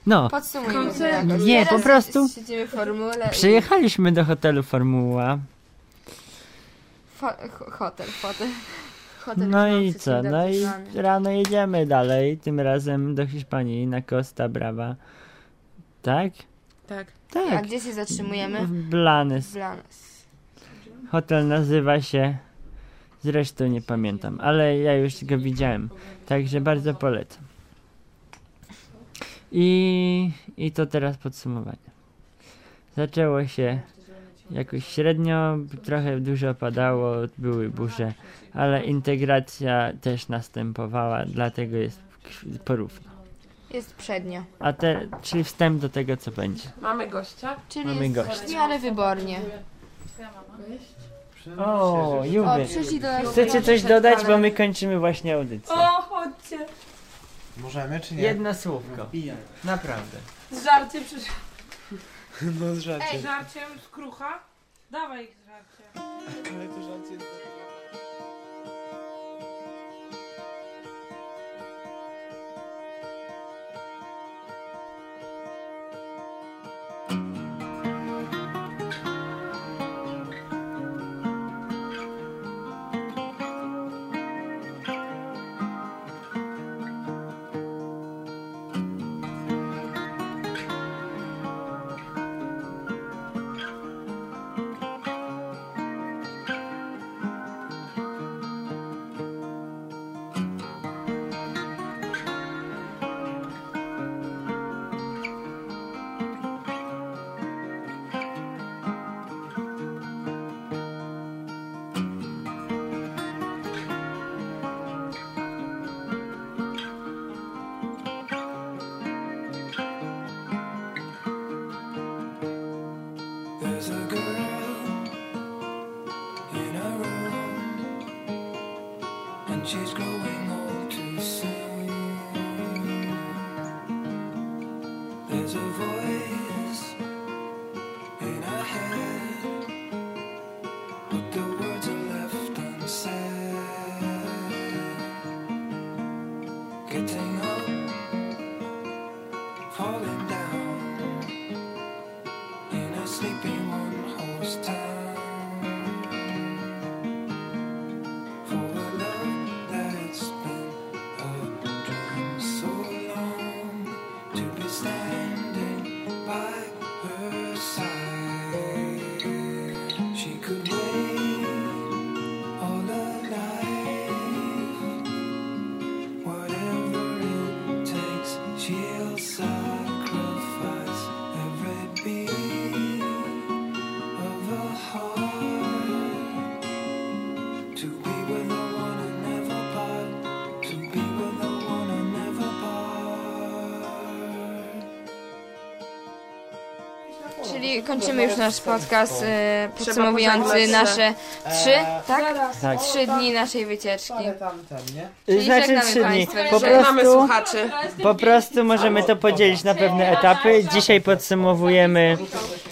[SPEAKER 3] No,
[SPEAKER 2] Podsumujmy.
[SPEAKER 5] Koncert.
[SPEAKER 2] tak.
[SPEAKER 3] Nie,
[SPEAKER 2] Teraz
[SPEAKER 3] po prostu-
[SPEAKER 2] Siedzimy w formule. i-
[SPEAKER 3] przyjechaliśmy do hotelu Formuła.
[SPEAKER 2] Fo- ho- hotel, hotel. Hotel
[SPEAKER 3] No
[SPEAKER 2] już
[SPEAKER 3] i
[SPEAKER 2] mam
[SPEAKER 3] co?
[SPEAKER 2] wszystkim
[SPEAKER 3] No i
[SPEAKER 2] dopisany.
[SPEAKER 3] rano jedziemy dalej, tym razem do Hiszpanii, na Costa Brava. Tak?
[SPEAKER 6] Tak.
[SPEAKER 2] A
[SPEAKER 3] Tak.
[SPEAKER 2] gdzie się zatrzymujemy?
[SPEAKER 3] W Blanes.
[SPEAKER 2] Dla nas.
[SPEAKER 3] Hotel nazywa się... Zresztą nie pamiętam, ale ja już go widziałem. Także bardzo polecam. I, I to teraz podsumowanie. Zaczęło się jakoś średnio, trochę dużo padało, były burze, ale integracja też następowała, dlatego jest k- porówno.
[SPEAKER 2] Jest przednio.
[SPEAKER 3] A te, czyli wstęp do tego, co będzie.
[SPEAKER 6] Mamy gościa.
[SPEAKER 2] Czyli
[SPEAKER 3] Mamy
[SPEAKER 2] jest
[SPEAKER 3] gościa.
[SPEAKER 2] w miarę wybornie.
[SPEAKER 3] O,
[SPEAKER 2] O,
[SPEAKER 3] Juby,
[SPEAKER 2] przyszli do nas.
[SPEAKER 3] chcecie coś
[SPEAKER 2] towarzysze
[SPEAKER 3] dodać, bo
[SPEAKER 2] stale.
[SPEAKER 3] my kończymy właśnie audycję.
[SPEAKER 4] O, chodźcie.
[SPEAKER 1] Możemy czy nie?
[SPEAKER 3] Jedno słówko, naprawdę.
[SPEAKER 4] Z żarciem przyszli.
[SPEAKER 1] No z żarciem.
[SPEAKER 4] Ej, żarciem z krucha? Dawaj ich z żarciem.
[SPEAKER 1] Ale to żart jest...
[SPEAKER 7] She's growing old too soon. There's a voice in her head, but the words are left unsaid. Getting up, falling down in a sleepy one horse town. For a love that's been a dream so long to be standing by her side. She could wait all her life. Whatever it takes, she'll sacrifice every beat of her heart. To be with the one I never part. To be with the one I never part.
[SPEAKER 2] Czyli kończymy już nasz podcast e, podsumowujący
[SPEAKER 6] pożegnać
[SPEAKER 2] nasze
[SPEAKER 6] się.
[SPEAKER 2] trzy,
[SPEAKER 1] Eee,
[SPEAKER 2] tak?
[SPEAKER 3] Tak.
[SPEAKER 2] Trzy dni naszej wycieczki.
[SPEAKER 1] Ale
[SPEAKER 6] tak.
[SPEAKER 1] tam, tam, nie?
[SPEAKER 2] Czyli
[SPEAKER 3] Znaczy
[SPEAKER 2] żegnamy
[SPEAKER 3] trzy dni.
[SPEAKER 2] państwa, żegnamy
[SPEAKER 3] Po
[SPEAKER 6] Żegnamy
[SPEAKER 3] prostu,
[SPEAKER 6] słuchaczy.
[SPEAKER 3] po prostu możemy to podzielić na pewne etapy. Dzisiaj podsumowujemy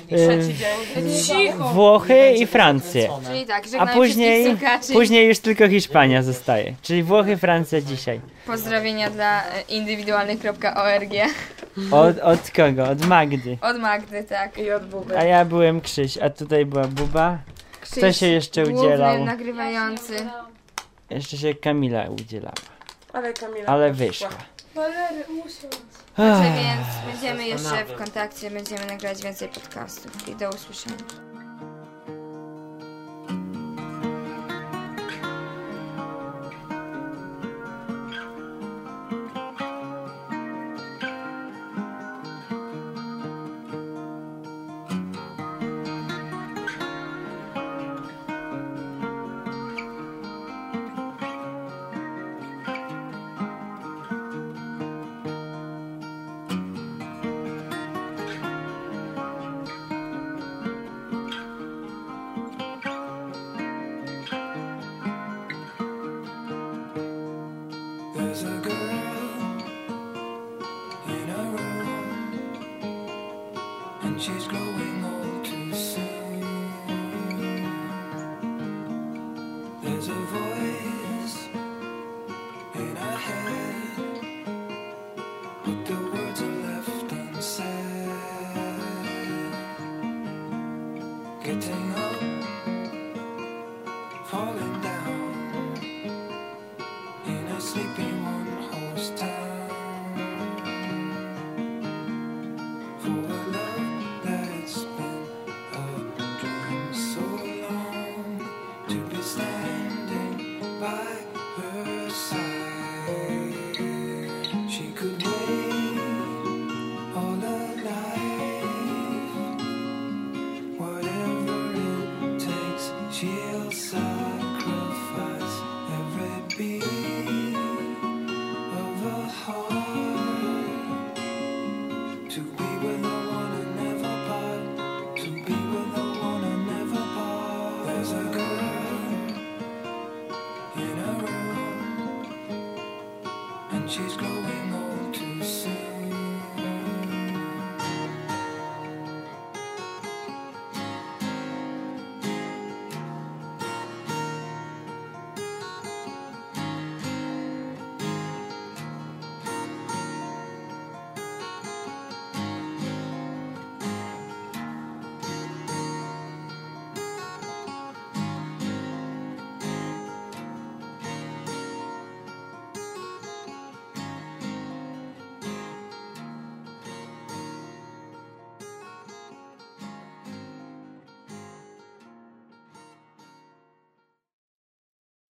[SPEAKER 6] Trzeci dzień.
[SPEAKER 4] Cicho.
[SPEAKER 3] e, Włochy i Francję.
[SPEAKER 2] Czyli tak,
[SPEAKER 3] A
[SPEAKER 2] żegnamy wszystkich
[SPEAKER 3] później,
[SPEAKER 2] słuchaczy.
[SPEAKER 3] później już tylko Hiszpania zostaje. Czyli Włochy, Francja dzisiaj.
[SPEAKER 2] Pozdrowienia dla e, indywidualnych.org
[SPEAKER 3] Od, od kogo? Od Magdy.
[SPEAKER 2] od Magdy, tak.
[SPEAKER 6] I od Buby.
[SPEAKER 3] A ja byłem Krzyś, a tutaj była Buba.
[SPEAKER 2] Krzyś,
[SPEAKER 3] Kto się jeszcze udzielał?
[SPEAKER 2] Główny nagrywający.
[SPEAKER 3] Jeszcze się Kamila udzielała,
[SPEAKER 6] Ale Kamila
[SPEAKER 3] ale
[SPEAKER 6] poszła.
[SPEAKER 3] wyszła.
[SPEAKER 5] Valery, usiądź.
[SPEAKER 2] Także więc będziemy jeszcze w kontakcie, będziemy nagrywać więcej podcastów i do usłyszenia.
[SPEAKER 7] There's a girl in a room, and she's growing old too soon. There's a voice in her head, but the words are left unsaid. Getting up, falling down in a sleepy one horse town. For a love that's been a dream so long to be standing by her side. She could wait all her life. Whatever it takes, she'll sacrifice every beat of her heart to be with the one I never part. To be with the one I never part. There's a girl in a room, and she's glowing.